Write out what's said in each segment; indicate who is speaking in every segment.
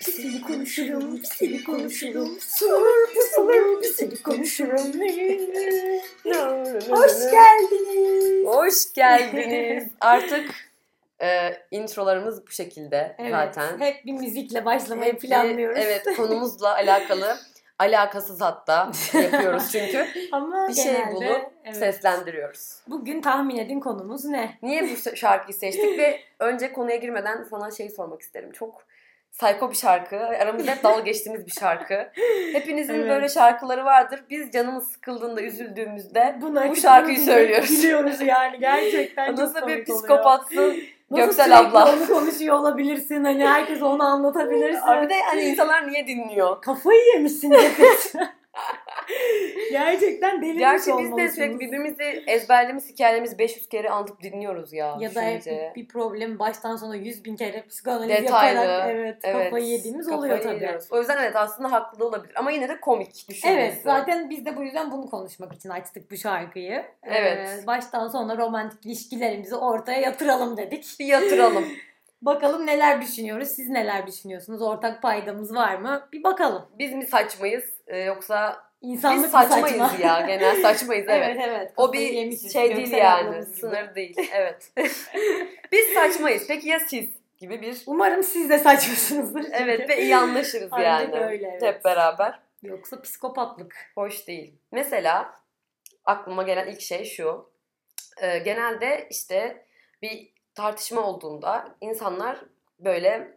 Speaker 1: Pisili konuşurum, pisili konuşurum. Sorur pusulur, pisili konuşurum. Hoş geldiniz.
Speaker 2: Hoş geldiniz. Artık e, introlarımız bu şekilde
Speaker 1: Evet,
Speaker 2: zaten.
Speaker 1: Hep bir müzikle başlamayı
Speaker 2: Hep bir-
Speaker 1: planlıyoruz.
Speaker 2: Evet konumuzla alakalı. Alakasız hatta yapıyoruz çünkü.
Speaker 1: Ama
Speaker 2: Bir şey
Speaker 1: genelde,
Speaker 2: bulup
Speaker 1: evet.
Speaker 2: Seslendiriyoruz.
Speaker 1: Bugün tahmin edin konumuz ne?
Speaker 2: Niye bu se- şarkıyı seçtik ve önce konuya girmeden sana şey sormak isterim. Çok sayko bir şarkı. Aramızda hep dalga geçtiğimiz bir şarkı. Hepinizin
Speaker 1: Evet.
Speaker 2: böyle şarkıları vardır. Biz canımız sıkıldığında, üzüldüğümüzde
Speaker 1: Buna
Speaker 2: Bu şarkıyı söylüyoruz.
Speaker 1: Biliyoruz yani gerçekten çok
Speaker 2: nasıl bir
Speaker 1: komik oluyor.
Speaker 2: psikopatsın
Speaker 1: Nasıl
Speaker 2: Göksel
Speaker 1: sürekli
Speaker 2: abla.
Speaker 1: onu konuşuyor olabilirsin. Hani herkes onu anlatabilirsin.
Speaker 2: Abi de hani insanlar niye dinliyor?
Speaker 1: Kafayı yemişsin nefes. Gerçekten delirmiş
Speaker 2: Gerçi biz de
Speaker 1: olmalısınız.
Speaker 2: sürekli birbirimizi ezberlemiz, hikayelerimiz 500 kere anlatıp dinliyoruz ya.
Speaker 1: ya da hep
Speaker 2: düşününce.
Speaker 1: bir problem baştan sona yüz bin kere psikanaliz
Speaker 2: Detaylı,
Speaker 1: yaparak evet,
Speaker 2: Evet,
Speaker 1: kafayı yediğimiz
Speaker 2: kafayı
Speaker 1: oluyor tabii.
Speaker 2: yiyoruz. O yüzden evet aslında haklı da olabilir ama yine de komik düşünmesi.
Speaker 1: Evet zaten biz de bu yüzden bunu konuşmak için açtık bu şarkıyı.
Speaker 2: Evet.
Speaker 1: Ee, baştan sona romantik ilişkilerimizi ortaya yatıralım dedik.
Speaker 2: Bir yatıralım.
Speaker 1: Bakalım neler düşünüyoruz, siz neler düşünüyorsunuz, ortak paydamız var mı? Bir bakalım.
Speaker 2: Biz mi saçmayız e, yoksa
Speaker 1: İnsanlık
Speaker 2: biz
Speaker 1: mı
Speaker 2: saçmayız
Speaker 1: saçma?
Speaker 2: ya genel saçmayız evet.
Speaker 1: evet evet.
Speaker 2: O
Speaker 1: Kafayı
Speaker 2: bir
Speaker 1: yemişiz.
Speaker 2: şey değil
Speaker 1: Göksel
Speaker 2: yani
Speaker 1: ablamız gibi.
Speaker 2: sınır değil evet. biz saçmayız peki ya siz gibi bir
Speaker 1: Umarım siz de saçmışsınızdır. çünkü.
Speaker 2: evet ve iyi anlaşırız
Speaker 1: Ancak
Speaker 2: yani
Speaker 1: öyle, evet.
Speaker 2: hep beraber.
Speaker 1: Yoksa psikopatlık.
Speaker 2: Hoş değil. Mesela aklıma gelen ilk şey şu. Ee, genelde işte bir tartışma olduğunda insanlar böyle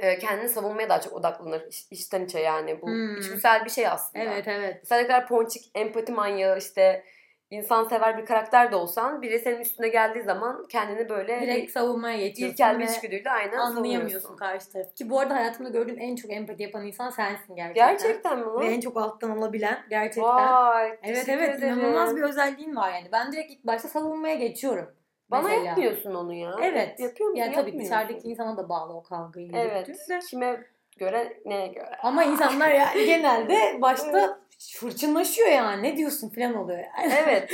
Speaker 2: e, kendini savunmaya daha çok odaklanır. İç- içten içe yani. Bu
Speaker 1: Hmm.
Speaker 2: içgüdüsel bir şey aslında.
Speaker 1: Evet evet.
Speaker 2: Sen ne kadar ponçik, empati manyağı işte insansever bir karakter de olsan biri senin üstüne geldiği zaman kendini böyle
Speaker 1: Direkt savunmaya
Speaker 2: bir
Speaker 1: geçiyorsun
Speaker 2: ilkel bir
Speaker 1: ve
Speaker 2: içgüdüyle aynen
Speaker 1: anlayamıyorsun
Speaker 2: savunuyorsun.
Speaker 1: karşı tarafı. Ki bu arada hayatımda gördüğüm en çok empati yapan insan sensin gerçekten.
Speaker 2: Gerçekten mi
Speaker 1: Ve
Speaker 2: lan?
Speaker 1: en çok alttan alabilen gerçekten.
Speaker 2: Vay,
Speaker 1: evet
Speaker 2: teşekkür
Speaker 1: evet
Speaker 2: ederim.
Speaker 1: inanılmaz bir özelliğin var yani. Ben direkt ilk başta savunmaya geçiyorum.
Speaker 2: Bana
Speaker 1: mesela.
Speaker 2: yapmıyorsun onu ya.
Speaker 1: Evet.
Speaker 2: Yapıyor musun?
Speaker 1: Ya tabii
Speaker 2: Yapmıyorsun.
Speaker 1: dışarıdaki insana da bağlı o kavgayı.
Speaker 2: Evet.
Speaker 1: yürüttüğünde.
Speaker 2: Kime göre, neye göre?
Speaker 1: Ama insanlar ya genelde başta fırçınlaşıyor yani. Ne diyorsun falan oluyor yani.
Speaker 2: Evet.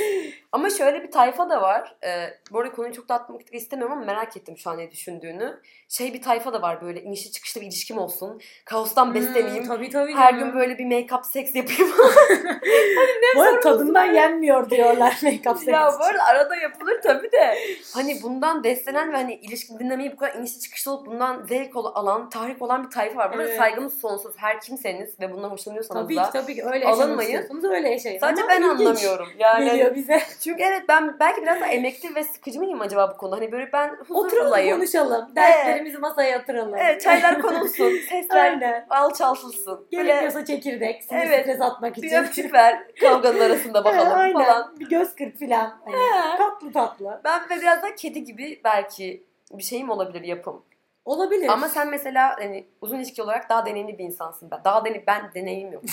Speaker 2: ama şöyle bir tayfa da var. Ee, bu arada konuyu çok dağıtmak istemiyorum ama merak ettim şu an ne düşündüğünü. Şey bir tayfa da var böyle inişli çıkışlı bir ilişkim olsun. Kaostan besleneyim.
Speaker 1: Hmm, tabii tabii.
Speaker 2: Her
Speaker 1: canım.
Speaker 2: gün böyle bir make-up seks yapayım.
Speaker 1: Bu arada tadından yenmiyor diyorlar make-up
Speaker 2: ya
Speaker 1: sektörü.
Speaker 2: bu arada arada yapılır tabii de. Hani bundan beslenen ve hani ilişki dinlemeyi bu kadar inişli çıkışlı olup bundan zevk ol- alan, tahrik olan bir tayfa var. Burada
Speaker 1: Evet.
Speaker 2: saygımız sonsuz. Her kimseniz ve bundan hoşlanıyorsanız
Speaker 1: Tabii
Speaker 2: da.
Speaker 1: ki tabii ki öyle
Speaker 2: Alınmayın.
Speaker 1: yaşamışsınız öyle yaşayın.
Speaker 2: Sadece
Speaker 1: Ama
Speaker 2: ben
Speaker 1: ilginç
Speaker 2: anlamıyorum. Yani hani
Speaker 1: Geliyor bize.
Speaker 2: Çünkü evet ben belki biraz da emekli ve sıkıcı mıyım acaba bu konuda? Hani böyle ben
Speaker 1: Oturalım
Speaker 2: huzurlayım.
Speaker 1: konuşalım. Derslerimizi masaya yatıralım.
Speaker 2: Evet çaylar konulsun. Sesler
Speaker 1: Aynen.
Speaker 2: alçaltılsın. Böyle
Speaker 1: Gerekiyorsa çekirdek. Sinir
Speaker 2: Evet.
Speaker 1: stres atmak için.
Speaker 2: bir öpücük ver kavganın arasında bakalım
Speaker 1: Aynen.
Speaker 2: falan.
Speaker 1: Bir göz kırp filan. Hani
Speaker 2: He.
Speaker 1: tatlı tatlı.
Speaker 2: Ben ve biraz da kedi gibi belki bir şeyim olabilir yapım.
Speaker 1: Olabilir.
Speaker 2: Ama sen mesela hani uzun ilişki olarak daha deneyimli bir insansın. Ben daha deneyim ben deneyim yok.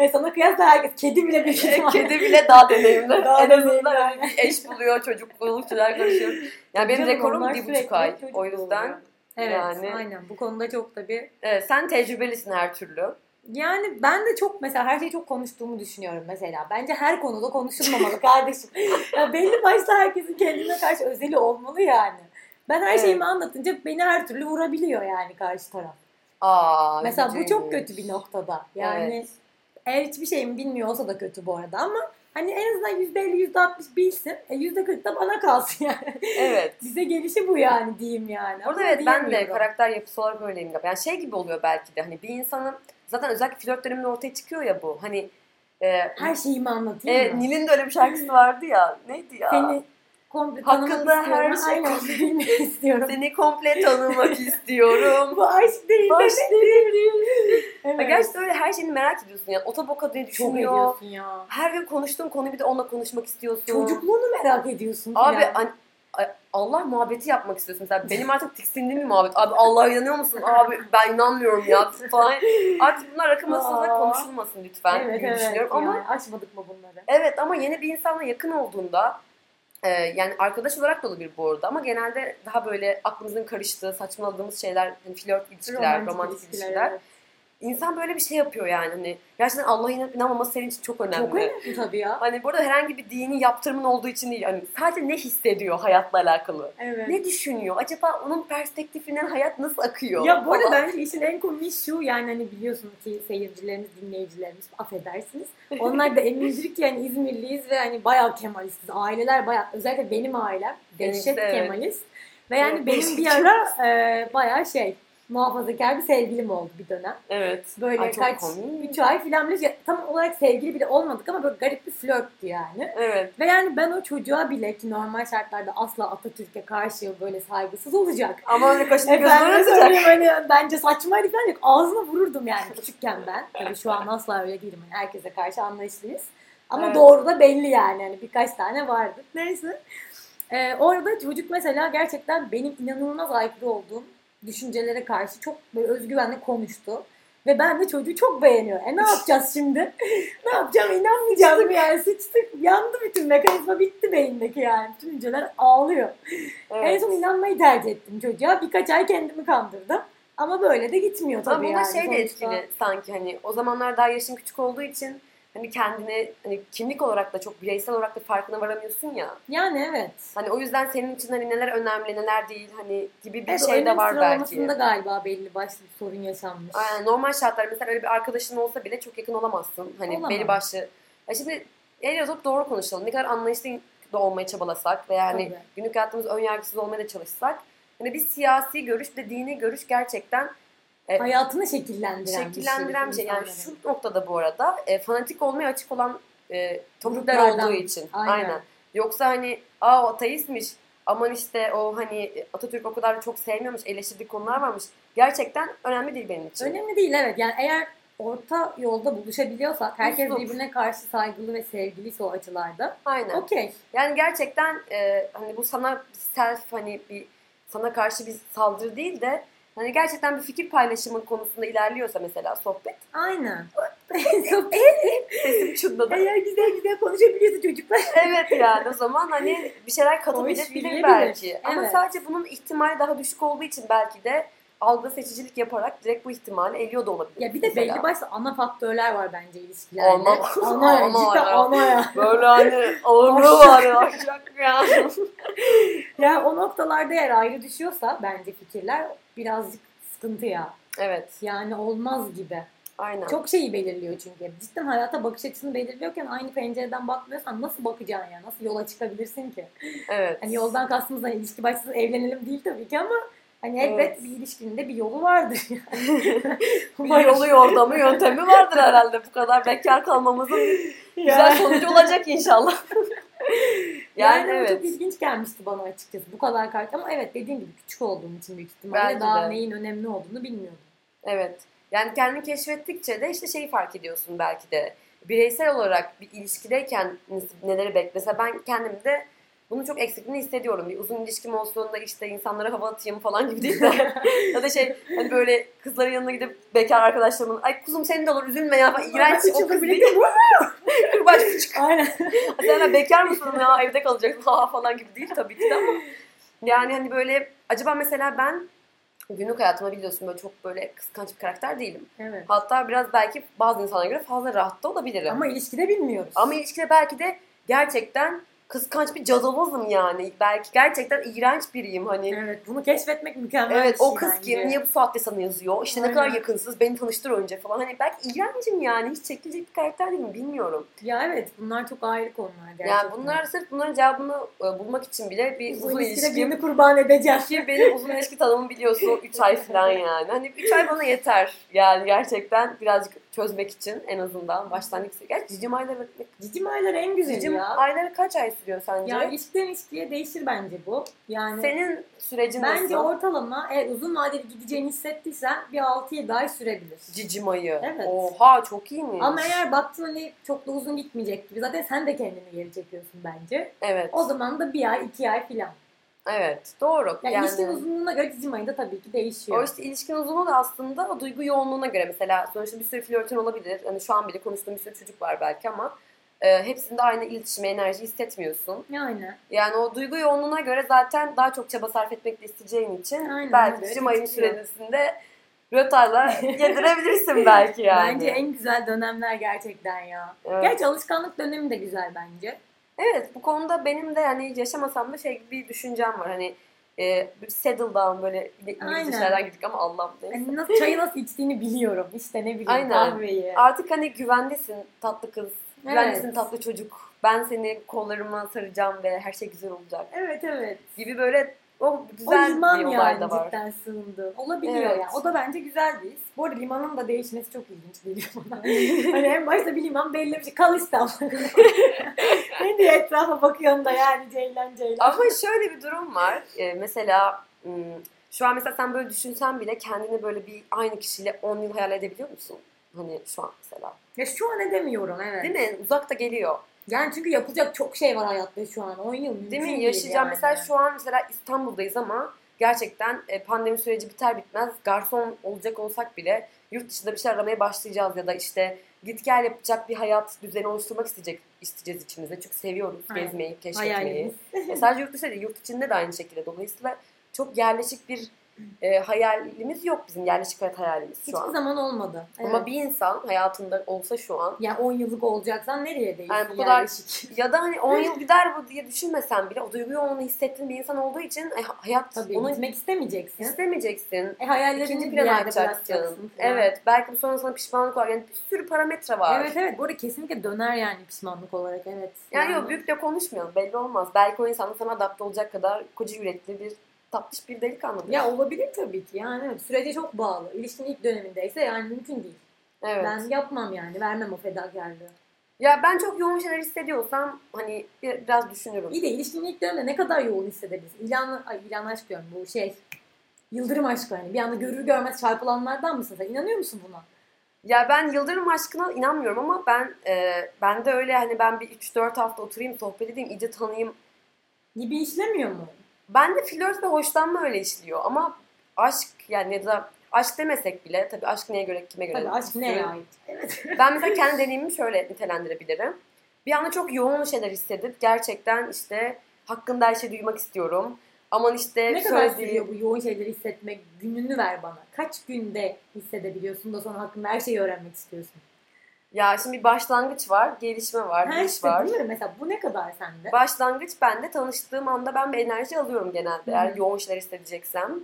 Speaker 1: E, sana kıyasla herkes. Kedi bile bir şey var.
Speaker 2: kedi bile daha deneyimli.
Speaker 1: Daha
Speaker 2: en azından
Speaker 1: deneyimli.
Speaker 2: hani bir eş buluyor, çocuk buluyor, şeyler karışıyor. Yani benim
Speaker 1: Canım, onlar
Speaker 2: rekorum bir buçuk
Speaker 1: sürekli
Speaker 2: ay.
Speaker 1: çocuk
Speaker 2: O yüzden
Speaker 1: oluyor. Evet
Speaker 2: yani-
Speaker 1: aynen. Bu konuda çok da bir
Speaker 2: evet, Ee, sen tecrübelisin her türlü.
Speaker 1: Yani ben de çok mesela her şeyi çok konuştuğumu düşünüyorum mesela. Bence her konuda konuşulmamalı kardeşim. ya belli başta herkesin kendine karşı özeli olmalı yani. Ben her
Speaker 2: Evet.
Speaker 1: şeyimi anlatınca beni her türlü vurabiliyor yani karşı taraf.
Speaker 2: Aa,
Speaker 1: mesela bu
Speaker 2: üzücüymüş.
Speaker 1: çok kötü bir noktada. Yani
Speaker 2: Evet.
Speaker 1: eğer hiçbir şeyimi bilmiyor olsa da kötü bu arada ama hani en azından %50 %60 bilsin. E %40 da bana kalsın yani.
Speaker 2: Evet.
Speaker 1: Bize gelişi bu yani diyeyim yani.
Speaker 2: Orada
Speaker 1: Ama
Speaker 2: evet ben de
Speaker 1: diyemiyorum.
Speaker 2: karakter yapısı olarak öyleyim. galiba. Yani şey gibi oluyor belki de hani bir insanın zaten özellikle flört döneminde ortaya çıkıyor ya bu. Hani e,
Speaker 1: her şeyimi anlatayım
Speaker 2: evet,
Speaker 1: mı?
Speaker 2: Nil'in de öyle bir şarkısı vardı ya. Neydi ya?
Speaker 1: Seni komple tanımak
Speaker 2: Hakkında her
Speaker 1: istiyorum.
Speaker 2: şey
Speaker 1: Aynen, bilmek istiyorum.
Speaker 2: Seni komple tanımak istiyorum.
Speaker 1: Bu aşk değil.
Speaker 2: Baş
Speaker 1: de-
Speaker 2: Ya
Speaker 1: Evet.
Speaker 2: gerçekten öyle her şeyini merak ediyorsun yani. Otoboka diye
Speaker 1: çok
Speaker 2: düşünüyor.
Speaker 1: ediyorsun ya.
Speaker 2: Her gün konuştuğun konuyu bir de onunla konuşmak istiyorsun.
Speaker 1: Çocukluğunu merak ediyorsun.
Speaker 2: Abi
Speaker 1: filan.
Speaker 2: an- a- Allah muhabbeti yapmak istiyorsun. Mesela benim artık tiksindiğim bir muhabbet. Abi Allah'a inanıyor musun? Abi ben inanmıyorum ya falan. Artık bunlar akım arasında
Speaker 1: Aa.
Speaker 2: konuşulmasın lütfen diye düşünüyorum. Ama
Speaker 1: yani açmadık mı bunları?
Speaker 2: evet ama yeni bir insanla yakın olduğunda e, yani arkadaş olarak da olabilir bu arada ama genelde daha böyle aklımızın karıştığı, saçmaladığımız şeyler, hani flört ilişkiler, romantik, ilişkiler.
Speaker 1: evet.
Speaker 2: insan böyle bir şey yapıyor yani. Hani gerçekten Allah'a inanıp inanmaması senin için çok önemli.
Speaker 1: Çok önemli tabii ya.
Speaker 2: Hani burada herhangi bir dini yaptırımın olduğu için değil. Hani sadece ne hissediyor hayatla alakalı.
Speaker 1: Evet.
Speaker 2: Ne düşünüyor? Acaba onun perspektifinden hayat nasıl akıyor?
Speaker 1: Ya bu arada
Speaker 2: Falan.
Speaker 1: bence işin en komiği şu yani hani biliyorsunuz ki seyircilerimiz, dinleyicilerimiz affedersiniz. Onlar da eminlik yani İzmirliyiz ve hani bayağı Kemalistiz. Aileler bayağı özellikle benim ailem dehşet
Speaker 2: Evet.
Speaker 1: Kemalist. Ve yani
Speaker 2: Evet,
Speaker 1: benim bir
Speaker 2: dehşet
Speaker 1: ara e, bayağı şey muhafazakar bir sevgilim oldu bir dönem.
Speaker 2: Evet.
Speaker 1: Böyle
Speaker 2: Ay, çok
Speaker 1: kaç,
Speaker 2: komik.
Speaker 1: 3 ay filan bile ya tam olarak sevgili bile olmadık ama böyle garip bir flörttü yani.
Speaker 2: Evet.
Speaker 1: Ve yani ben o çocuğa bile ki normal şartlarda asla Atatürk'e karşı böyle saygısız olacak.
Speaker 2: Ama öyle kaşını gözünü
Speaker 1: Efendim
Speaker 2: öpecek.
Speaker 1: söyleyeyim hani bence saçmaydı falan yok. Ağzına vururdum yani küçükken ben. Tabii şu an asla öyle değilim. Hani herkese karşı anlayışlıyız. Ama
Speaker 2: Evet.
Speaker 1: doğru da belli yani. Hani birkaç tane vardı. Neyse. Ee, orada çocuk mesela gerçekten benim inanılmaz aykırı olduğum düşüncelere karşı çok böyle özgüvenle konuştu. Ve ben de çocuğu çok beğeniyorum. E ne yapacağız şimdi? ne yapacağım inanmayacağım yani. Sıçtık. Yandı bütün mekanizma bitti beyindeki yani. Tüm hücreler ağlıyor. En
Speaker 2: Evet.
Speaker 1: son inanmayı tercih ettim çocuğa. Birkaç ay kendimi kandırdım. Ama böyle de gitmiyor
Speaker 2: Ama
Speaker 1: tabii
Speaker 2: bunda
Speaker 1: yani.
Speaker 2: şey de
Speaker 1: sonuçta.
Speaker 2: etkili sanki hani o zamanlar daha yaşın küçük olduğu için hani kendini hani kimlik olarak da çok bireysel olarak da farkına varamıyorsun ya.
Speaker 1: Yani evet.
Speaker 2: Hani o yüzden senin için hani neler önemli neler değil hani gibi bir
Speaker 1: Evet,
Speaker 2: şey de var belki.
Speaker 1: sıralamasında galiba belli başlı bir sorun yaşanmış.
Speaker 2: Aynen normal şartlar mesela öyle bir arkadaşın olsa bile çok yakın olamazsın. Hani
Speaker 1: Olamam.
Speaker 2: belli başlı. Ya şimdi el yazıp doğru konuşalım. Ne kadar anlayışlı da olmaya çabalasak hani ve yani
Speaker 1: Tabii.
Speaker 2: günlük hayatımız önyargısız olmaya da çalışsak. Hani bir siyasi görüş ve dini görüş gerçekten e,
Speaker 1: Hayatını şekillendiren,
Speaker 2: şekillendiren bir şey. Yani
Speaker 1: insanların.
Speaker 2: şu noktada bu arada e, fanatik olmaya açık olan e, topluluklar
Speaker 1: Gruplardan.
Speaker 2: olduğu için.
Speaker 1: Aynen.
Speaker 2: Aynen. Yoksa hani aa o ateistmiş aman işte o hani Atatürk o kadar çok sevmiyormuş eleştirdiği konular varmış. Gerçekten önemli değil benim için.
Speaker 1: Önemli değil evet. Yani eğer orta yolda buluşabiliyorsak, herkes
Speaker 2: Mutluluk.
Speaker 1: birbirine karşı saygılı ve sevgiliyse o açılarda.
Speaker 2: Aynen.
Speaker 1: Okey.
Speaker 2: Yani gerçekten e, hani bu sana self hani bir sana karşı bir saldırı değil de hani gerçekten bir fikir paylaşımı konusunda ilerliyorsa mesela sohbet
Speaker 1: Aynen.
Speaker 2: sesim çınladı.
Speaker 1: eğer güzel güzel konuşabiliyorsa çocuklar.
Speaker 2: evet yani o zaman hani bir şeyler
Speaker 1: O iş
Speaker 2: katabilebilir
Speaker 1: bilinebilir.
Speaker 2: belki. Ama
Speaker 1: Evet.
Speaker 2: sadece bunun ihtimali daha düşük olduğu için belki de algı seçicilik yaparak direkt bu ihtimali eliyor da olabilir.
Speaker 1: Ya bir de
Speaker 2: mesela.
Speaker 1: belli başlı ana faktörler var bence ilişkilerde.
Speaker 2: Olmam.
Speaker 1: Ana, ya,
Speaker 2: Olmam
Speaker 1: cidden
Speaker 2: ya.
Speaker 1: ana ya.
Speaker 2: Böyle hani ağırlığı var ya. Aşak ya.
Speaker 1: Yani o noktalarda eğer ayrı düşüyorsa bence fikirler birazcık sıkıntı ya.
Speaker 2: evet
Speaker 1: Yani olmaz gibi.
Speaker 2: aynen.
Speaker 1: Çok şeyi belirliyor çünkü. Cidden hayata bakış açısını belirliyorken aynı pencereden bakmıyorsan nasıl bakacaksın ya? Nasıl yola çıkabilirsin ki?
Speaker 2: evet.
Speaker 1: Hani yoldan kastımız hani ilişki başsız evlenelim değil tabii ki ama hani elbet
Speaker 2: Evet.
Speaker 1: bir ilişkinin de bir yolu vardır.
Speaker 2: bir yolu yordamı yöntemi vardır herhalde. Bu kadar bekar kalmamızın güzel sonucu olacak inşallah.
Speaker 1: Yani,
Speaker 2: yani,
Speaker 1: o
Speaker 2: evet.
Speaker 1: hani çok ilginç gelmişti bana açıkçası bu kadar kart ama evet dediğim gibi küçük olduğum için büyük ihtimalle
Speaker 2: Bence
Speaker 1: daha
Speaker 2: de.
Speaker 1: neyin önemli olduğunu bilmiyordum.
Speaker 2: Evet. Yani kendini keşfettikçe de işte şeyi fark ediyorsun belki de. Bireysel olarak bir ilişkideyken nasıl- neleri bek. Mesela ben kendimde bunun çok eksikliğini hissediyorum. Bir uzun ilişkim olsun da işte insanlara hava atayım falan gibi değil de. ya da şey hani böyle kızların yanına gidip bekar arkadaşlarımın ay kuzum senin de olur üzülme ya falan. İğrenç o kız değil. Kırbaç
Speaker 1: Aynen.
Speaker 2: Sen de bekar mısın ya evde kalacaksın ha falan gibi değil tabii ki de ama yani hani böyle acaba mesela ben günlük hayatıma biliyorsun böyle çok böyle kıskanç bir karakter değilim.
Speaker 1: Evet.
Speaker 2: Hatta biraz belki bazı insanlara göre fazla rahat da olabilirim. Ama,
Speaker 1: Ama ilişkide bilmiyoruz.
Speaker 2: ilişkide belki de gerçekten kıskanç bir cadalozum yani. Belki gerçekten iğrenç biriyim hani.
Speaker 1: evet bunu keşfetmek mükemmel
Speaker 2: Evet
Speaker 1: bir şey
Speaker 2: o kız
Speaker 1: bence.
Speaker 2: kim? Niye bu saatte sana yazıyor? İşte ne
Speaker 1: Aynen.
Speaker 2: kadar yakınsınız? Beni tanıştır önce falan. Hani belki iğrencim yani. Hiç çekilecek bir karakter değilim. Bilmiyorum.
Speaker 1: Ya evet bunlar çok ayrı konular gerçekten.
Speaker 2: Yani bunlar sırf bunların cevabını e, bulmak için bile bir uzun,
Speaker 1: bu ilişkide
Speaker 2: ilişki.
Speaker 1: birini kurban edeceğim.
Speaker 2: Ki benim uzun ilişki tanımımı biliyorsun 3 ay falan yani. Hani 3 ay bana yeter. Yani gerçekten birazcık çözmek için en azından başlangıç. Gerçi cicim ayları,
Speaker 1: Cicim aylar en güzeli
Speaker 2: cicim
Speaker 1: ya.
Speaker 2: ayları kaç ay sürüyor sence?
Speaker 1: Ya ilişkiden ilişkiye değişir bence bu. Yani
Speaker 2: Senin sürecin
Speaker 1: bence
Speaker 2: nasıl?
Speaker 1: ortalama eğer uzun vadeli gideceğini hissettiysen bir 6-7 ay sürebilir.
Speaker 2: Cicim ayı.
Speaker 1: Evet.
Speaker 2: Oha çok iyiymiş.
Speaker 1: Ama eğer baktın hani çok da uzun gitmeyecek gibi zaten sen de kendini geri çekiyorsun bence.
Speaker 2: Evet.
Speaker 1: O zaman da bir ay iki ay filan.
Speaker 2: Evet. Doğru.
Speaker 1: Yani, ilişkinin uzunluğuna göre cicim ayı da tabii ki değişiyor.
Speaker 2: O işte ilişkin uzunluğu da aslında o duygu yoğunluğuna göre mesela sonuçta bir sürü flörtün olabilir. Hani şu an bile konuştuğum bir sürü çocuk var belki ama e, hepsinde aynı iletişime enerji hissetmiyorsun.
Speaker 1: Aynen.
Speaker 2: Yani o duygu yoğunluğuna göre zaten daha çok çaba sarf etmek de isteyeceğin için
Speaker 1: Aynen,
Speaker 2: belki
Speaker 1: evet,
Speaker 2: cim ayın
Speaker 1: etkiliyor.
Speaker 2: süresinde rötayla yedirebilirsin belki yani.
Speaker 1: Bence en güzel dönemler gerçekten ya.
Speaker 2: Evet.
Speaker 1: Gerçi alışkanlık dönemi de güzel bence.
Speaker 2: Evet bu konuda benim de hani yaşamasam da şey gibi bir düşüncem var hani e, bir settle down böyle
Speaker 1: Aynen.
Speaker 2: İngilizce şeyler gittik ama Allah'ım neyse.
Speaker 1: Hani nasıl, çayı nasıl içtiğini biliyorum. İşte ne bileyim
Speaker 2: Aynen.
Speaker 1: kahveyi.
Speaker 2: Artık hani güvendesin tatlı kız, güvendesin
Speaker 1: Evet.
Speaker 2: tatlı çocuk. Ben seni kollarıma saracağım ve her şey güzel olacak
Speaker 1: Evet evet.
Speaker 2: gibi böyle o
Speaker 1: O
Speaker 2: güzel
Speaker 1: liman
Speaker 2: bir olay
Speaker 1: yani
Speaker 2: da var.
Speaker 1: cidden sığındı. Olabiliyor
Speaker 2: Evet.
Speaker 1: yani. O da bence güzel bir his. Bu arada limanın da değişmesi çok ilginç geliyor bana. hani en başta bir liman belli bir şey. Kal İstanbul'da. ne diye etrafa bakıyorsun da yani Ceylan Ceylan.
Speaker 2: Ama şöyle bir durum var. Ee, mesela hmm, şu an mesela sen böyle düşünsen bile kendini böyle bir aynı kişiyle 10 yıl hayal edebiliyor musun? Hani şu an mesela.
Speaker 1: Ya şu an edemiyorum evet.
Speaker 2: Değil mi? Uzak da geliyor.
Speaker 1: Yani çünkü yapılacak çok şey var hayatta şu an. 10 yıl
Speaker 2: Değil
Speaker 1: mümkün
Speaker 2: mi?
Speaker 1: değil
Speaker 2: Yaşayacağım.
Speaker 1: yani.
Speaker 2: Mesela şu an mesela İstanbul'dayız ama gerçekten e, pandemi süreci biter bitmez garson olacak olsak bile yurt dışında bir şey aramaya başlayacağız ya da işte git gel yapacak bir hayat düzeni oluşturmak isteyecek isteyeceğiz içimizde. Çünkü seviyoruz
Speaker 1: Aynen.
Speaker 2: gezmeyi, keşfetmeyi.
Speaker 1: hayalimiz.
Speaker 2: E, sadece yurt dışında değil, yurt içinde de aynı şekilde. Dolayısıyla çok yerleşik bir e, hayalimiz yok bizim yerleşik hayat hayalimiz şu
Speaker 1: Hiçbir
Speaker 2: an.
Speaker 1: zaman olmadı.
Speaker 2: Ama bir insan hayatında olsa şu an
Speaker 1: Yani 10 yıllık olacaksan nereye değilsin?
Speaker 2: Yani bu kadar-
Speaker 1: yerleşik.
Speaker 2: Ya da hani 10 yıl gider bu diye düşünmesen bile o duyguyu onu hissettiğin bir insan olduğu için e, hayat
Speaker 1: Tabii
Speaker 2: onu
Speaker 1: gitmek istemeyeceksin.
Speaker 2: istemeyeceksin.
Speaker 1: E, hayallerini
Speaker 2: İkinci
Speaker 1: bir
Speaker 2: plana
Speaker 1: yerde
Speaker 2: atacaksın.
Speaker 1: bırakacaksın. falan.
Speaker 2: Evet. Belki bu sonrasında pişmanlık var. Yani bir sürü parametre var.
Speaker 1: Evet evet. Bu arada kesinlikle döner yani pişmanlık olarak evet.
Speaker 2: Yani yok büyük de konuşmayalım. Belli olmaz. Belki o insan da sana adapte olacak kadar koca yürekli bir tatlış bir delikanlıdır.
Speaker 1: Ya olabilir tabii ki yani evet. Sürece çok bağlı. İlişkinin ilk dönemindeyse yani mümkün değil.
Speaker 2: evet.
Speaker 1: Ben yapmam yani. Vermem o fedakarlığı.
Speaker 2: Ya ben çok yoğun şeyler hissediyorsam hani bir- biraz düşünürüm.
Speaker 1: İyi de ilişkinin ilk döneminde ne kadar yoğun hissedebilirsin? İlan, ay, ilan aşk diyorum bu şey. Yıldırım aşkı hani. Bir anda görür görmez çarpılanlardan mısın sen? İnanıyor musun buna?
Speaker 2: Ya ben Yıldırım aşkına inanmıyorum ama ben e, ben de öyle hani ben bir 3-4 hafta oturayım sohbet edeyim iyice tanıyayım
Speaker 1: Gibi işlemiyor mu?
Speaker 2: Ben de flört ve hoşlanma öyle işliyor ama aşk yani ya da aşk demesek bile tabii aşk neye göre kime göre.
Speaker 1: Tabii aşk neye ait?
Speaker 2: Ben mesela kendi deneyimimi şöyle nitelendirebilirim. Bir anda çok yoğun şeyler hissedip gerçekten işte hakkında her şeyi duymak istiyorum. Aman işte
Speaker 1: Ne kadar
Speaker 2: söylediği-
Speaker 1: sürüyor bu yoğun şeyleri hissetmek? Gününü ver bana. Kaç günde hissedebiliyorsun da sonra hakkında her şeyi öğrenmek istiyorsun?
Speaker 2: Ya şimdi bir başlangıç var, gelişme var,
Speaker 1: Her
Speaker 2: giriş
Speaker 1: şey
Speaker 2: var.
Speaker 1: değil mi? Mesela bu ne kadar sende?
Speaker 2: Başlangıç bende tanıştığım anda ben bir enerji alıyorum genelde eğer
Speaker 1: Hı.
Speaker 2: yoğun şeyler hissedeceksem.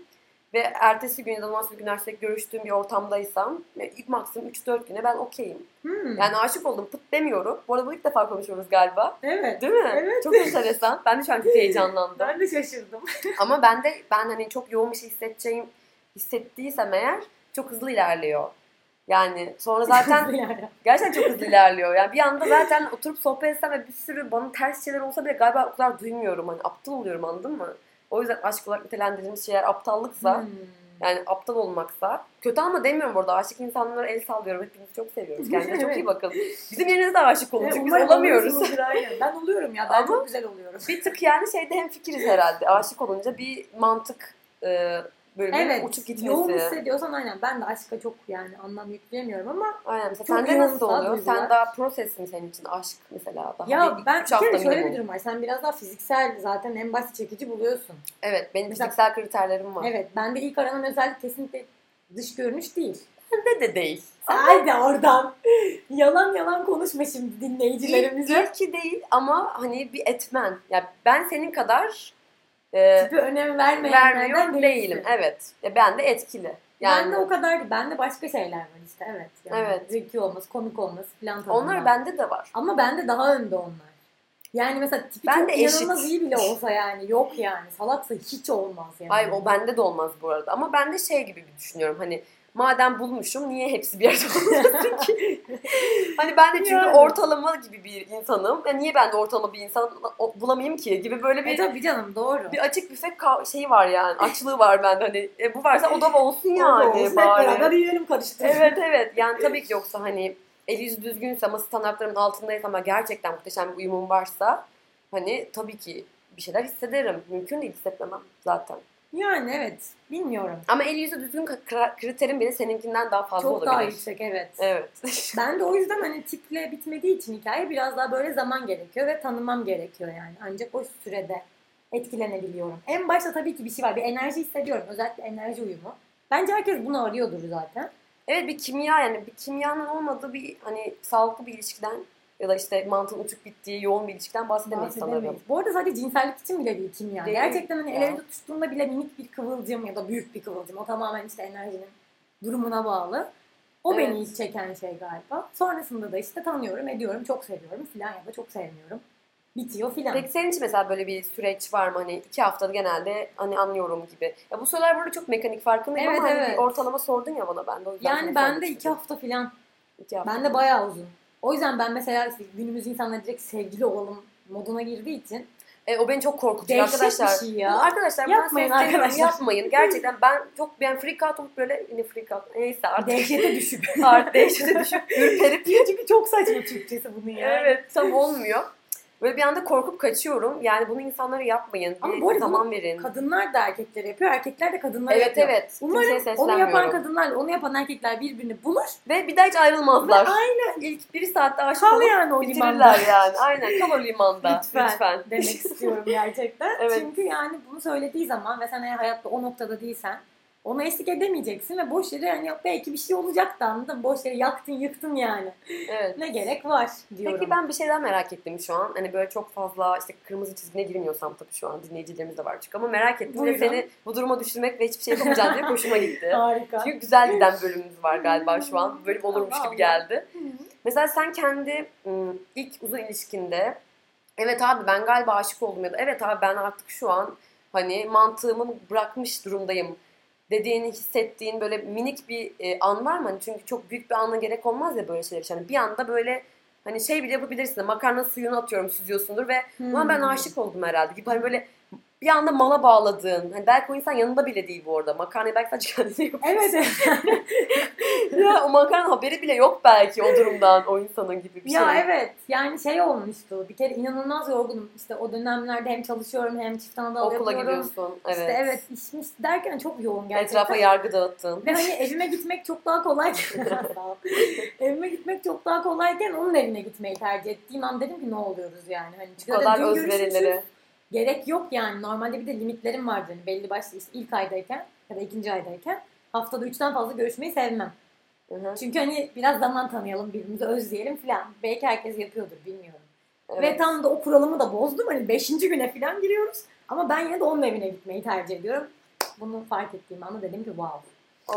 Speaker 2: Ve ertesi gün ya da ondan günler sürekli görüştüğüm bir ortamdaysam ilk maksimum 3-4 güne ben okeyim.
Speaker 1: Hmm.
Speaker 2: Yani aşık oldum pıt demiyorum. Bu arada bu ilk defa konuşuyoruz galiba.
Speaker 1: evet.
Speaker 2: Değil mi?
Speaker 1: Evet.
Speaker 2: Çok enteresan. Ben de şu an çok heyecanlandım.
Speaker 1: Ben de şaşırdım.
Speaker 2: Ama ben de ben hani çok yoğun bir şey hissedeceğim hissettiysem eğer çok hızlı ilerliyor. Yani sonra zaten
Speaker 1: Yani.
Speaker 2: gerçekten çok hızlı ilerliyor. Yani bir anda zaten oturup sohbet etsem ve bir sürü bana ters şeyler olsa bile galiba o kadar duymuyorum. Hani aptal oluyorum anladın mı? O yüzden aşk olarak nitelendirdiğimiz şeyler aptallıksa,
Speaker 1: Hmm.
Speaker 2: yani aptal olmaksa. Kötü ama demiyorum burada. Aşık insanlara el sallıyorum. Hepinizi çok seviyoruz. Kendinize çok iyi bakın. Bizim yerinize de aşık olun.
Speaker 1: E,
Speaker 2: Çünkü biz
Speaker 1: umarım
Speaker 2: olamıyoruz.
Speaker 1: olursunuzdur, aynen. Ben oluyorum ya. Ben
Speaker 2: Ama-
Speaker 1: çok güzel oluyorum.
Speaker 2: bir tık yani şeyde hem fikiriz herhalde. Aşık olunca bir mantık e, böyle
Speaker 1: Evet.
Speaker 2: uçup
Speaker 1: Yoğun
Speaker 2: gitmesi.
Speaker 1: hissediyorsan aynen. Ben de aşka çok yani anlam yükleyemiyorum ama
Speaker 2: Aynen. Mesela
Speaker 1: Çok
Speaker 2: sende
Speaker 1: yoğun
Speaker 2: nasıl oluyor?
Speaker 1: duygular.
Speaker 2: Sen daha prosesin senin için aşk mesela. Daha Hani,
Speaker 1: ya
Speaker 2: bir-
Speaker 1: ben
Speaker 2: üç
Speaker 1: bir kere
Speaker 2: hafta
Speaker 1: şöyle bir
Speaker 2: minimum.
Speaker 1: durum var. Sen biraz daha fiziksel zaten en basit çekici buluyorsun.
Speaker 2: Evet benim
Speaker 1: Mesela-
Speaker 2: fiziksel kriterlerim var.
Speaker 1: Evet. Bende ilk aranan özellik kesinlikle dış görünüş değil.
Speaker 2: Sende de değil.
Speaker 1: Haydi oradan. yalan yalan konuşma şimdi
Speaker 2: İlk,
Speaker 1: dinleyicilerimize.
Speaker 2: ilki değil ama hani bir etmen. Ya ben senin kadar e,
Speaker 1: Ee, Tipi önem
Speaker 2: vermiyor
Speaker 1: vermeyenlerden
Speaker 2: değilim. Evet. Ya ben de etkili. Yani
Speaker 1: Yani, ben de o kadar ben de başka şeyler var işte evet. Yani
Speaker 2: Evet.
Speaker 1: Zeki olması, komik olması falan tadında.
Speaker 2: onlar bende de var.
Speaker 1: Ama bende daha önde onlar. Yani mesela tipi
Speaker 2: Ben
Speaker 1: çok
Speaker 2: de eşit.
Speaker 1: inanılmaz iyi bile olsa yani yok yani. Salaksa hiç olmaz yani.
Speaker 2: Ay o bende de olmaz bu arada. Ama ben de şey gibi bir düşünüyorum hani madem bulmuşum niye hepsi bir yerde olmasın ki? hani ben de çünkü
Speaker 1: Yani.
Speaker 2: ortalama gibi bir insanım. Ya niye ben de ortalama bir insan o- bulamayayım ki gibi böyle
Speaker 1: E
Speaker 2: bir
Speaker 1: tabii canım doğru.
Speaker 2: bir açık büfe ka- şeyi var yani. Açlığı var bende hani. E, bu varsa o da olsun
Speaker 1: O da
Speaker 2: yani.
Speaker 1: olsun, hep
Speaker 2: bari.
Speaker 1: beraber yiyelim karıştır.
Speaker 2: Evet evet. Yani tabii ki yoksa hani el yüzü düzgünse ama standartlarımın altındaysa ama gerçekten muhteşem bir uyumum varsa hani tabii ki bir şeyler hissederim. Mümkün değil hissetmemem zaten.
Speaker 1: Yani evet. Bilmiyorum.
Speaker 2: Ama el yüzü düzgün kra- kriterim bile seninkinden daha fazla
Speaker 1: Çok
Speaker 2: olabilir.
Speaker 1: daha yüksek evet.
Speaker 2: Evet.
Speaker 1: Ben de o yüzden hani tiple bitmediği için hikaye biraz daha böyle zaman gerekiyor ve tanımam gerekiyor yani. Ancak o sürede etkilenebiliyorum. En başta tabii ki bir şey var. Bir enerji hissediyorum. Özellikle enerji uyumu. Bence herkes bunu arıyordur zaten.
Speaker 2: Evet bir kimya yani bir kimyanın olmadığı bir hani sağlıklı bir ilişkiden ya da işte mantığın uçuk bittiği yoğun bir ilişkiden bahsedemeyiz sanırım.
Speaker 1: Bahsedemeyiz. Bu arada sadece cinsellik için bile değil kimya.
Speaker 2: Değil.
Speaker 1: Gerçekten hani
Speaker 2: Ya.
Speaker 1: el elinde tuttuğunda bile minik bir kıvılcım ya da büyük bir kıvılcım. O tamamen işte enerjinin durumuna bağlı. O
Speaker 2: Evet.
Speaker 1: beni ilk çeken şey galiba. Sonrasında da işte tanıyorum, ediyorum, çok seviyorum filan ya da çok sevmiyorum. Bitiyor filan.
Speaker 2: Peki senin için mesela böyle bir süreç var mı? Hani iki haftada genelde hani anlıyorum gibi. Ya bu sorular burada çok mekanik farkındayım
Speaker 1: Evet,
Speaker 2: ama hani
Speaker 1: evet.
Speaker 2: bir ortalama sordun ya bana ben de. o yüzden
Speaker 1: Yani
Speaker 2: sana
Speaker 1: ben de
Speaker 2: sormuştum.
Speaker 1: iki hafta filan.
Speaker 2: İki hafta.
Speaker 1: Ben de bayağı uzun. O yüzden ben mesela işte günümüz insanları direkt sevgili olalım moduna girdiği için
Speaker 2: E, o beni çok korkutuyor
Speaker 1: Dehşet
Speaker 2: arkadaşlar.
Speaker 1: bir şey ya.
Speaker 2: Bunu arkadaşlar buradan
Speaker 1: Yapmayın
Speaker 2: sesleniyorum,
Speaker 1: arkadaşlar.
Speaker 2: Yapmayın. Gerçekten ben çok ben freak out olup böyle yine freak out. Neyse artık.
Speaker 1: dehşete düşüp.
Speaker 2: artık dehşete düşüp ürperip.
Speaker 1: Çünkü çok saçma Türkçesi bunun ya.
Speaker 2: evet tam olmuyor. Böyle bir anda korkup kaçıyorum. Yani bunu insanlara yapmayın.
Speaker 1: Ama
Speaker 2: Bir
Speaker 1: bu arada
Speaker 2: zaman verin.
Speaker 1: Kadınlar da erkeklere yapıyor, erkekler de kadınlara
Speaker 2: evet
Speaker 1: yapıyor.
Speaker 2: evet.
Speaker 1: Umarım
Speaker 2: Kimseye
Speaker 1: Onu yapan
Speaker 2: seslenmiyorum.
Speaker 1: kadınlarla onu yapan erkekler birbirini bulur.
Speaker 2: Ve bir daha hiç ayrılmazlar.
Speaker 1: Ve
Speaker 2: aynen. İlk bir saatte aşık
Speaker 1: Kal
Speaker 2: olup
Speaker 1: yani o limanda.
Speaker 2: bitirirler yani. Aynen kal o limanda.
Speaker 1: Lütfen.
Speaker 2: Lütfen.
Speaker 1: Demek istiyorum gerçekten.
Speaker 2: Evet.
Speaker 1: Çünkü yani bunu söylediği zaman ve sen eğer hayatta o noktada değilsen ona eşlik edemeyeceksin ve boş yere yani belki bir şey olacak da anladın mı? Boş yere yaktın yıktın yani.
Speaker 2: Evet.
Speaker 1: Ne gerek var diyorum.
Speaker 2: Peki ben bir şeyden merak ettim şu an. Hani böyle çok fazla işte kırmızı çizgine girmiyorsam tabii şu an dinleyicilerimiz de var çünkü ama merak ettim
Speaker 1: Buyurun.
Speaker 2: ve seni bu duruma düşürmek ve hiçbir şey yapamayacağım diye hoşuma gitti.
Speaker 1: Harika.
Speaker 2: Çünkü güzel giden bölümümüz var galiba şu an. Bölüm olurmuş
Speaker 1: Allah
Speaker 2: gibi
Speaker 1: Allah.
Speaker 2: geldi.
Speaker 1: Hı hı.
Speaker 2: Mesela sen kendi ım, ilk uzun ilişkinde evet abi ben galiba aşık oldum ya da evet abi ben artık şu an hani mantığımı bırakmış durumdayım dediğini hissettiğin böyle minik bir e, an var mı? Hani çünkü çok büyük bir ana gerek olmaz ya böyle şeyler için. Hani bir anda böyle hani şey bile yapabilirsin. Makarna suyunu atıyorum süzüyorsundur ve ulan ben
Speaker 1: Hmm.
Speaker 2: aşık oldum herhalde gibi hani böyle bir anda mala bağladığın. Hani belki o insan yanında bile değil bu arada. Makarnayı belki sadece kendine yapıyor.
Speaker 1: Evet evet.
Speaker 2: ya o makarna haberi bile yok belki o durumdan o insanın gibi bir
Speaker 1: ya
Speaker 2: şey.
Speaker 1: evet yani şey olmuştu bir kere inanılmaz yorgunum işte o dönemlerde hem çalışıyorum hem çift anadal
Speaker 2: Okula
Speaker 1: yapıyorum.
Speaker 2: gidiyorsun. Evet.
Speaker 1: İşte evet işmiş derken çok yoğun gerçekten.
Speaker 2: Etrafa yargı dağıttın.
Speaker 1: Ve hani evime gitmek çok daha kolayken evime gitmek çok daha kolayken onun evine gitmeyi tercih ettiğim an dedim ki ne oluyoruz yani. Hani
Speaker 2: Bu
Speaker 1: çünkü zaten
Speaker 2: kadar
Speaker 1: dün görüşmüşüz.
Speaker 2: özverileri.
Speaker 1: Gerek yok yani. Normalde bir de limitlerim vardı. Hani belli başlı işte ilk aydayken ya da ikinci aydayken haftada üçten fazla görüşmeyi sevmem.
Speaker 2: Hı hı,
Speaker 1: Çünkü hani biraz zaman tanıyalım birbirimizi özleyelim filan. Belki herkes yapıyordur bilmiyorum. Ve
Speaker 2: evet.
Speaker 1: tam da o kuralımı da bozdum. Hani beşinci güne filan giriyoruz. Ama ben yine de onun evine gitmeyi tercih ediyorum. Bunu fark ettiğim anda dedim ki wow.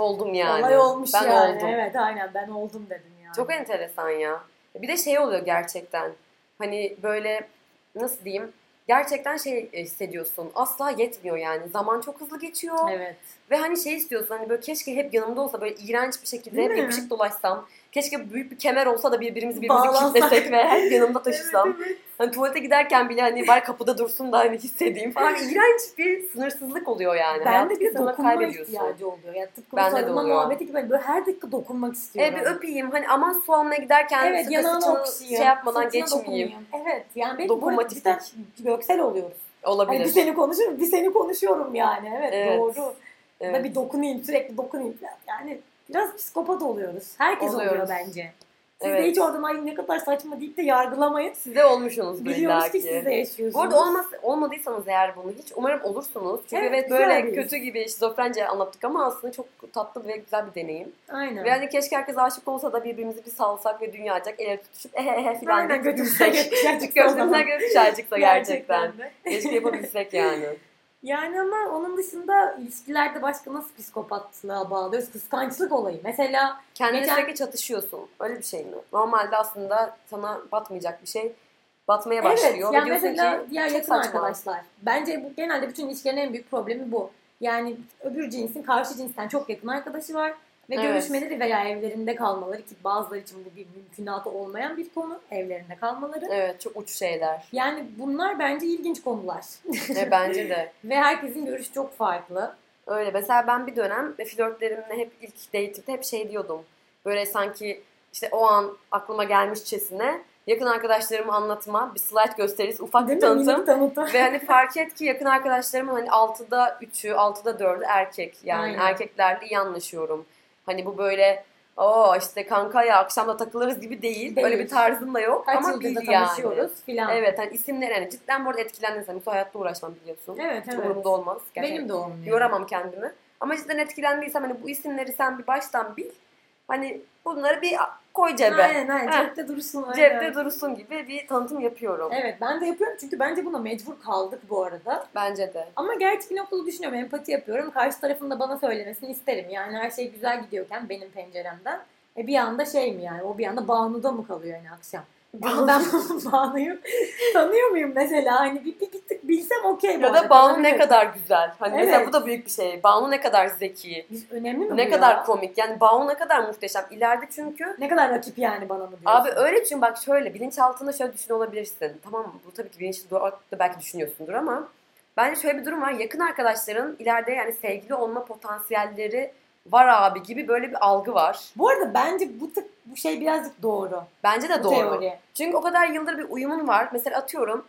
Speaker 2: Oldum yani.
Speaker 1: Olay olmuş
Speaker 2: ben
Speaker 1: yani.
Speaker 2: oldum.
Speaker 1: Evet aynen ben oldum dedim yani.
Speaker 2: Çok enteresan ya. Bir de şey oluyor gerçekten. Hani böyle nasıl diyeyim? Gerçekten şey hissediyorsun. Asla yetmiyor yani. Zaman çok hızlı geçiyor.
Speaker 1: Evet.
Speaker 2: Ve hani şey istiyorsun hani böyle keşke hep yanımda olsa böyle iğrenç bir şekilde
Speaker 1: Değil
Speaker 2: hep
Speaker 1: mi?
Speaker 2: yapışık dolaşsam. Keşke büyük bir kemer olsa da birbirimizi birbirimizi
Speaker 1: Bağlansak.
Speaker 2: kilitlesek ve hep yanımda taşısam.
Speaker 1: Evet, evet.
Speaker 2: Hani tuvalete giderken bile hani bari kapıda dursun da hani hissedeyim falan. İğrenç bir sınırsızlık oluyor yani.
Speaker 1: ben
Speaker 2: Hayattaki
Speaker 1: de bir
Speaker 2: sana
Speaker 1: dokunma
Speaker 2: kaybediyorsun.
Speaker 1: ihtiyacı oluyor. Ya tıpkı
Speaker 2: Bende
Speaker 1: bu
Speaker 2: de
Speaker 1: sarılma
Speaker 2: oluyor.
Speaker 1: muhabbeti gibi hani böyle her dakika dokunmak
Speaker 2: E
Speaker 1: istiyorum.
Speaker 2: bir öpeyim hani aman su almaya giderken
Speaker 1: evet
Speaker 2: sıkı
Speaker 1: yanağına
Speaker 2: sıçını
Speaker 1: okşayayım.
Speaker 2: şey yapmadan
Speaker 1: sırtına
Speaker 2: geçmeyeyim.
Speaker 1: dokunayım. Evet yani benim burada
Speaker 2: Dokunmatiklik.
Speaker 1: cidden göksel oluyoruz. Hani bir
Speaker 2: Olabilir.
Speaker 1: seni konuşuyorum, bir seni konuşuyorum yani. Evet,
Speaker 2: Evet.
Speaker 1: doğru.
Speaker 2: Evet.
Speaker 1: Da bir dokunayım, sürekli dokunayım. Yani biraz psikopat oluyoruz. Herkes oluyor
Speaker 2: Oluyoruz.
Speaker 1: bence. Siz de
Speaker 2: Evet.
Speaker 1: hiç oradan ay ne kadar saçma deyip de yargılamayın.
Speaker 2: Size olmuşsunuz
Speaker 1: Biliyoruz
Speaker 2: illa
Speaker 1: ki siz de
Speaker 2: ki.
Speaker 1: yaşıyorsunuz.
Speaker 2: Bu arada olmaz, olmadıysanız eğer bunu hiç umarım olursunuz. Çünkü
Speaker 1: Evet,
Speaker 2: evet,
Speaker 1: güzel
Speaker 2: böyle
Speaker 1: bir his.
Speaker 2: kötü gibi şizofrence anlattık ama aslında çok tatlı ve güzel bir deneyim.
Speaker 1: Aynen.
Speaker 2: Ve hani keşke herkes aşık olsa da birbirimizi bir salsak ve dünyacak el ele tutuşup ehehe filan
Speaker 1: Aynen
Speaker 2: deyip
Speaker 1: götümüze
Speaker 2: gülsek.
Speaker 1: götürecek.
Speaker 2: Gözümüzden göz çarçıksa gerçekten.
Speaker 1: de.
Speaker 2: Keşke yapabilsek yani.
Speaker 1: Yani ama onun dışında ilişkilerde başka nasıl psikopatlığa bağlıyoruz? Kıskançlık olayı. Mesela
Speaker 2: Kendine
Speaker 1: Geçen-
Speaker 2: sürekli çatışıyorsun. Öyle bir şey mi? Normalde aslında sana batmayacak bir şey batmaya
Speaker 1: evet
Speaker 2: başlıyor.
Speaker 1: ya
Speaker 2: Ve diyorsun
Speaker 1: mesela
Speaker 2: ki,
Speaker 1: diğer
Speaker 2: "Çok
Speaker 1: yakın
Speaker 2: saçma."
Speaker 1: arkadaşlar. Bence bu genelde bütün ilişkilerin en büyük problemi bu. Yani öbür cinsin karşı cinsten çok yakın arkadaşı var ve
Speaker 2: Evet.
Speaker 1: görüşmeleri veya evlerinde kalmaları ki bazıları için bu bir mümkünatı olmayan bir konu evlerinde kalmaları.
Speaker 2: Evet çok uç şeyler.
Speaker 1: Yani bunlar bence ilginç konular.
Speaker 2: Ve bence de.
Speaker 1: ve herkesin görüşü çok farklı.
Speaker 2: Öyle. Mesela ben bir dönem flörtlerimle hep ilk date'imde hep şey diyordum. Böyle sanki işte o an aklıma gelmişçesine yakın arkadaşlarımı anlatma, bir slide gösterisi, ufak
Speaker 1: Değil
Speaker 2: bir
Speaker 1: mi? Minik
Speaker 2: tanıtım.
Speaker 1: tanıtım.
Speaker 2: Ve hani fark et ki yakın arkadaşlarımın hani 6'da 3'ü, 6'da 4'ü erkek. Yani
Speaker 1: Aynen.
Speaker 2: erkeklerle iyi anlaşıyorum. Hani bu böyle o işte kanka ya akşam da takılırız gibi değil.
Speaker 1: Değil.
Speaker 2: Öyle bir tarzım da yok
Speaker 1: Kaç
Speaker 2: ama
Speaker 1: yıldır da
Speaker 2: biz yani.
Speaker 1: tanışıyoruz filan.
Speaker 2: Evet hani isimler hani cidden bu arada etkilendiniz. Hani bu hayatta uğraşmam biliyorsun.
Speaker 1: Evet evet.
Speaker 2: Umurumda olmaz. Gerçekten.
Speaker 1: Benim de olmuyor.
Speaker 2: Yoramam kendimi. Ama cidden etkilendiysen hani bu isimleri sen bir baştan bil. Hani bunları bir koy cebe.
Speaker 1: Aynen aynen.
Speaker 2: Heh.
Speaker 1: Cepte dursun. aynen.
Speaker 2: Cepte dursun gibi bir tanıtım yapıyorum.
Speaker 1: Evet ben de yapıyorum çünkü bence buna mecbur kaldık bu arada.
Speaker 2: Bence de.
Speaker 1: Ama gerçi bir noktada düşünüyorum. Empati yapıyorum. Karşı tarafın da bana söylemesini isterim. Yani her şey güzel gidiyorken benim penceremden. E bir anda şey mi yani? O bir anda Banu'da mı kalıyor yani akşam? Yani ben Banu'yu tanıyor muyum mesela? Hani bir, bir, bir tık bilsem okey. bu
Speaker 2: Ya
Speaker 1: arada.
Speaker 2: da Banu ne
Speaker 1: Tanıyorum.
Speaker 2: kadar güzel. Hani mesela
Speaker 1: Evet.
Speaker 2: bu da büyük bir şey. Banu ne kadar zeki.
Speaker 1: Biz- önemli mi bu
Speaker 2: Ne
Speaker 1: ya?
Speaker 2: kadar komik. Yani Banu ne kadar muhteşem. İleride çünkü
Speaker 1: Ne kadar rakip yani bana mı diyorsun?
Speaker 2: Abi öyle çünkü bak şöyle bilinçaltında şöyle düşün olabilirsin. Tamam mı? Bu tabii ki bilinçli olarak da belki düşünüyorsundur ama bence şöyle bir durum var. Yakın arkadaşların ileride yani sevgili olma potansiyelleri var abi gibi böyle bir algı var.
Speaker 1: Bu arada bence bu tık bu şey birazcık doğru.
Speaker 2: Bence de
Speaker 1: Bu
Speaker 2: doğru.
Speaker 1: teori.
Speaker 2: Çünkü o kadar yıldır bir uyumun var. Mesela atıyorum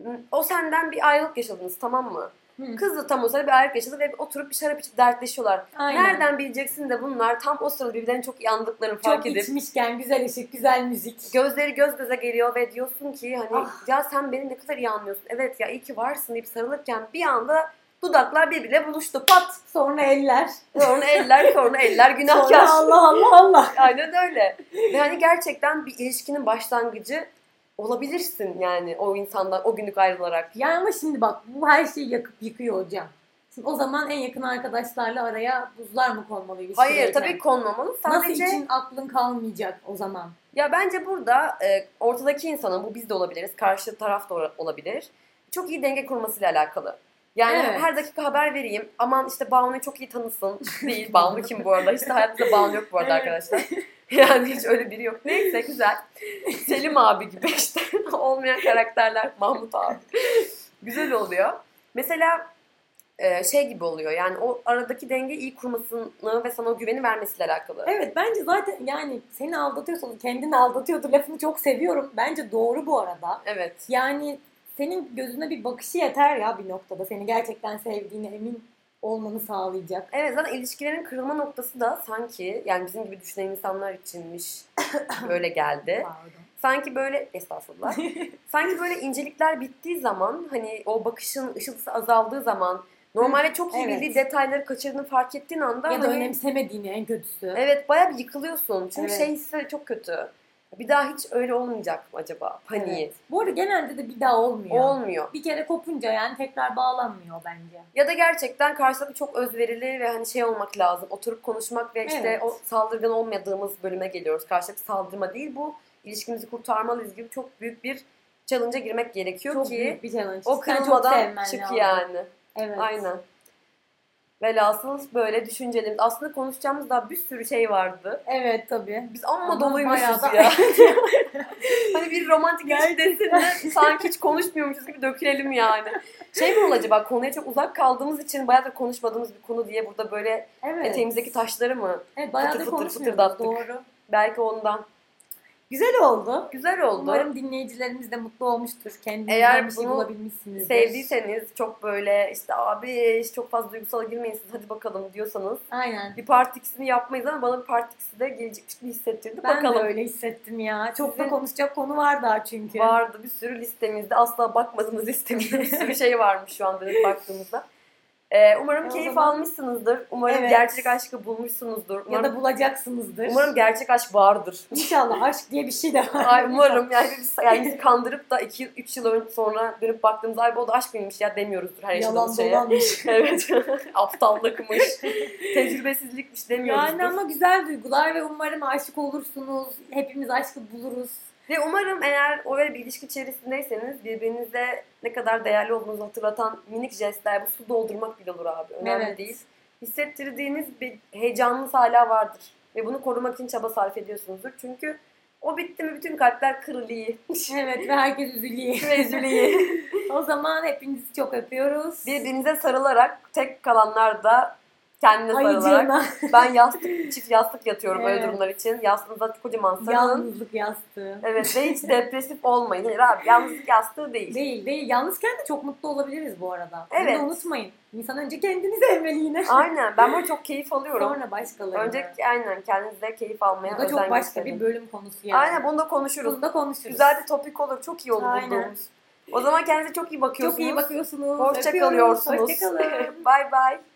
Speaker 2: m, o senden bir ayrılık yaşadınız tamam mı?
Speaker 1: Hı.
Speaker 2: Kız da tam o sırada bir ayrılık yaşadı ve oturup bir şarap içip dertleşiyorlar.
Speaker 1: Aynen.
Speaker 2: Nereden bileceksin de bunlar tam o sırada birbirlerini çok iyi anladıklarını fark
Speaker 1: Çok
Speaker 2: edip
Speaker 1: içmişken güzel ışık, güzel müzik.
Speaker 2: gözleri göz göze geliyor ve diyorsun ki hani
Speaker 1: Ah.
Speaker 2: ya sen beni ne kadar iyi anlıyorsun. Evet ya iyi ki varsın deyip sarılırken bir anda dudaklar birbiriyle buluştu. Pat!
Speaker 1: Sonra eller.
Speaker 2: Sonra eller sonra eller günahkar.
Speaker 1: Sonra Allah Allah Allah.
Speaker 2: Aynen öyle. Ve hani gerçekten bir ilişkinin başlangıcı olabilirsin yani o insandan o günlük ayrılarak.
Speaker 1: Yani ama şimdi bak bu her şeyi yakıp yıkıyor hocam. Şimdi o zaman en yakın arkadaşlarla araya buzlar mı konmalı ilişkilere?
Speaker 2: Hayır tabii konmamalı.
Speaker 1: Nasıl
Speaker 2: Sadece
Speaker 1: için aklın kalmayacak o zaman?
Speaker 2: Ya bence burada e, ortadaki insanın, bu biz de olabiliriz, karşı taraf da ola- olabilir. Çok iyi denge kurmasıyla alakalı. Yani
Speaker 1: Evet.
Speaker 2: her dakika haber vereyim. Aman işte Banu'yu çok iyi tanısın. Değil. Banu kim bu arada? Hiç de hayatımda Banu yok bu arada
Speaker 1: Evet.
Speaker 2: arkadaşlar. Yani hiç öyle biri yok. Neyse güzel. Selim abi gibi işte olmayan karakterler. Mahmut abi. Güzel oluyor. Mesela e, şey gibi oluyor. Yani o aradaki denge iyi kurmasını ve sana o güveni vermesiyle alakalı.
Speaker 1: Evet bence zaten yani seni aldatıyorsan kendini aldatıyordur lafını çok seviyorum. Bence doğru bu arada.
Speaker 2: Evet.
Speaker 1: Yani senin gözüne bir bakışı yeter ya bir noktada. Seni gerçekten sevdiğine emin olmanı sağlayacak.
Speaker 2: Evet zaten ilişkilerin kırılma noktası da sanki yani bizim gibi düşünen insanlar içinmiş böyle geldi.
Speaker 1: Pardon.
Speaker 2: Sanki böyle estağfurullah. sanki böyle incelikler bittiği zaman hani o bakışın ışıltısı azaldığı zaman normalde çok iyi
Speaker 1: evet.
Speaker 2: bildiği detayları kaçırdığını fark ettiğin anda
Speaker 1: ya da
Speaker 2: hani-
Speaker 1: önemsemediğini en kötüsü.
Speaker 2: evet bayağı bir yıkılıyorsun. Çünkü
Speaker 1: Evet.
Speaker 2: şey hissi çok kötü. Bir daha hiç öyle olmayacak mı acaba? Paniği.
Speaker 1: Evet. Bu arada genelde de bir daha olmuyor.
Speaker 2: Olmuyor.
Speaker 1: bir kere kopunca yani tekrar bağlanmıyor bence.
Speaker 2: Ya da gerçekten karşıdaki çok özverili ve hani şey olmak lazım. Oturup konuşmak ve işte
Speaker 1: Evet.
Speaker 2: o saldırgan olmadığımız bölüme geliyoruz. Karşıdaki saldırma değil bu. ilişkimizi kurtarmalıyız gibi çok büyük bir challenge'a girmek gerekiyor
Speaker 1: Çok
Speaker 2: ki
Speaker 1: büyük bir challenge. Sen
Speaker 2: o
Speaker 1: çok
Speaker 2: kırılmadan
Speaker 1: sevmen
Speaker 2: çık
Speaker 1: lazım.
Speaker 2: yani.
Speaker 1: Evet.
Speaker 2: Aynen. Velhasıl böyle düşüncelerimiz. Aslında konuşacağımız daha bir sürü şey vardı.
Speaker 1: Evet tabii.
Speaker 2: Biz amma
Speaker 1: Ama bayağı
Speaker 2: doluymuşuz
Speaker 1: da-
Speaker 2: ya. hani bir romantik ilişki desin de sanki hiç konuşmuyormuşuz gibi dökülelim yani. Şey mi olur acaba konuya çok uzak kaldığımız için bayağı da konuşmadığımız bir konu diye burada böyle
Speaker 1: Evet.
Speaker 2: eteğimizdeki taşları mı?
Speaker 1: Evet bayağı
Speaker 2: fıtır
Speaker 1: da
Speaker 2: fıtır
Speaker 1: konuşmuyoruz.
Speaker 2: fıtırdattık.
Speaker 1: Doğru.
Speaker 2: Belki ondan.
Speaker 1: Güzel oldu.
Speaker 2: Güzel oldu.
Speaker 1: Umarım dinleyicilerimiz de mutlu olmuştur. Kendinizden
Speaker 2: Eğer
Speaker 1: bir şey
Speaker 2: bunu
Speaker 1: bulabilmişsinizdir.
Speaker 2: Sevdiyseniz çok böyle işte abi işte çok fazla duygusala girmeyin siz hadi bakalım diyorsanız
Speaker 1: Aynen.
Speaker 2: bir part ikisini yapmayız ama bana bir part ikisi de gelecekmiş gibi hissettirdi.
Speaker 1: Ben
Speaker 2: bakalım.
Speaker 1: de öyle hissettim ya. Çok da
Speaker 2: Sizin-
Speaker 1: konuşacak konu var daha çünkü.
Speaker 2: Vardı bir sürü listemizde asla bakmadığımız listemizde bir sürü şey varmış şu an dönüp baktığımızda. Ee, umarım
Speaker 1: E, O
Speaker 2: keyif
Speaker 1: zaman-
Speaker 2: almışsınızdır. Umarım
Speaker 1: Evet.
Speaker 2: gerçek aşkı bulmuşsunuzdur. Umarım,
Speaker 1: Ya da bulacaksınızdır.
Speaker 2: umarım gerçek aşk vardır.
Speaker 1: İnşallah aşk diye bir şey de var.
Speaker 2: Ay, umarım yani biz yani bizi kandırıp da 2-3 yıl ön- sonra dönüp baktığımızda ay bu da aşk mıymış ya demiyoruzdur her
Speaker 1: Yalan
Speaker 2: yaşadığımız şeye.
Speaker 1: dolanmış.
Speaker 2: Evet. Aptallıkmış. Tecrübesizlikmiş demiyoruzdur.
Speaker 1: Yani ama güzel duygular ve umarım aşık olursunuz. Hepimiz aşkı buluruz.
Speaker 2: Ve umarım eğer o öyle bir ilişki içerisindeyseniz birbirinize ne kadar değerli olduğunuzu hatırlatan minik jestler, bu su doldurmak bile olur abi. Önemli
Speaker 1: Evet.
Speaker 2: değil. Hissettirdiğiniz bir heyecanınız hala vardır. Ve bunu korumak için çaba sarf ediyorsunuzdur. Çünkü o bitti mi bütün kalpler kırılıyor.
Speaker 1: Evet ve herkes üzülüyor.
Speaker 2: Ve üzülüyor.
Speaker 1: o zaman hepinizi çok öpüyoruz.
Speaker 2: Birbirinize sarılarak tek kalanlar da kendine sarılarak.
Speaker 1: Ayıcığına
Speaker 2: Ben yastık, çift yastık yatıyorum
Speaker 1: Evet.
Speaker 2: öyle durumlar için. Yastığınıza kocaman sarılın.
Speaker 1: yalnızlık yastığı.
Speaker 2: Evet ve hiç depresif olmayın. Hayır abi yalnızlık yastığı değil.
Speaker 1: Değil değil. Yalnızken de çok mutlu olabiliriz bu arada.
Speaker 2: Evet.
Speaker 1: Bunu da unutmayın. İnsan önce kendini sevmeli yine.
Speaker 2: Aynen ben bunu çok keyif alıyorum.
Speaker 1: Sonra başkalarını.
Speaker 2: Önce aynen kendinize keyif almaya
Speaker 1: Bu da çok
Speaker 2: özen
Speaker 1: başka bir
Speaker 2: gösterin.
Speaker 1: bölüm konusu yani.
Speaker 2: Aynen bunu da konuşuruz.
Speaker 1: Bunu da konuşuruz.
Speaker 2: Güzel bir topik olur. Çok iyi olur
Speaker 1: Aynen.
Speaker 2: bulduğumuz. O zaman kendinize çok iyi bakıyorsunuz.
Speaker 1: Çok iyi bakıyorsunuz.
Speaker 2: Hoşça
Speaker 1: Öpüyoruz.
Speaker 2: kalıyorsunuz.
Speaker 1: Hoşça kalın.
Speaker 2: Bay bay.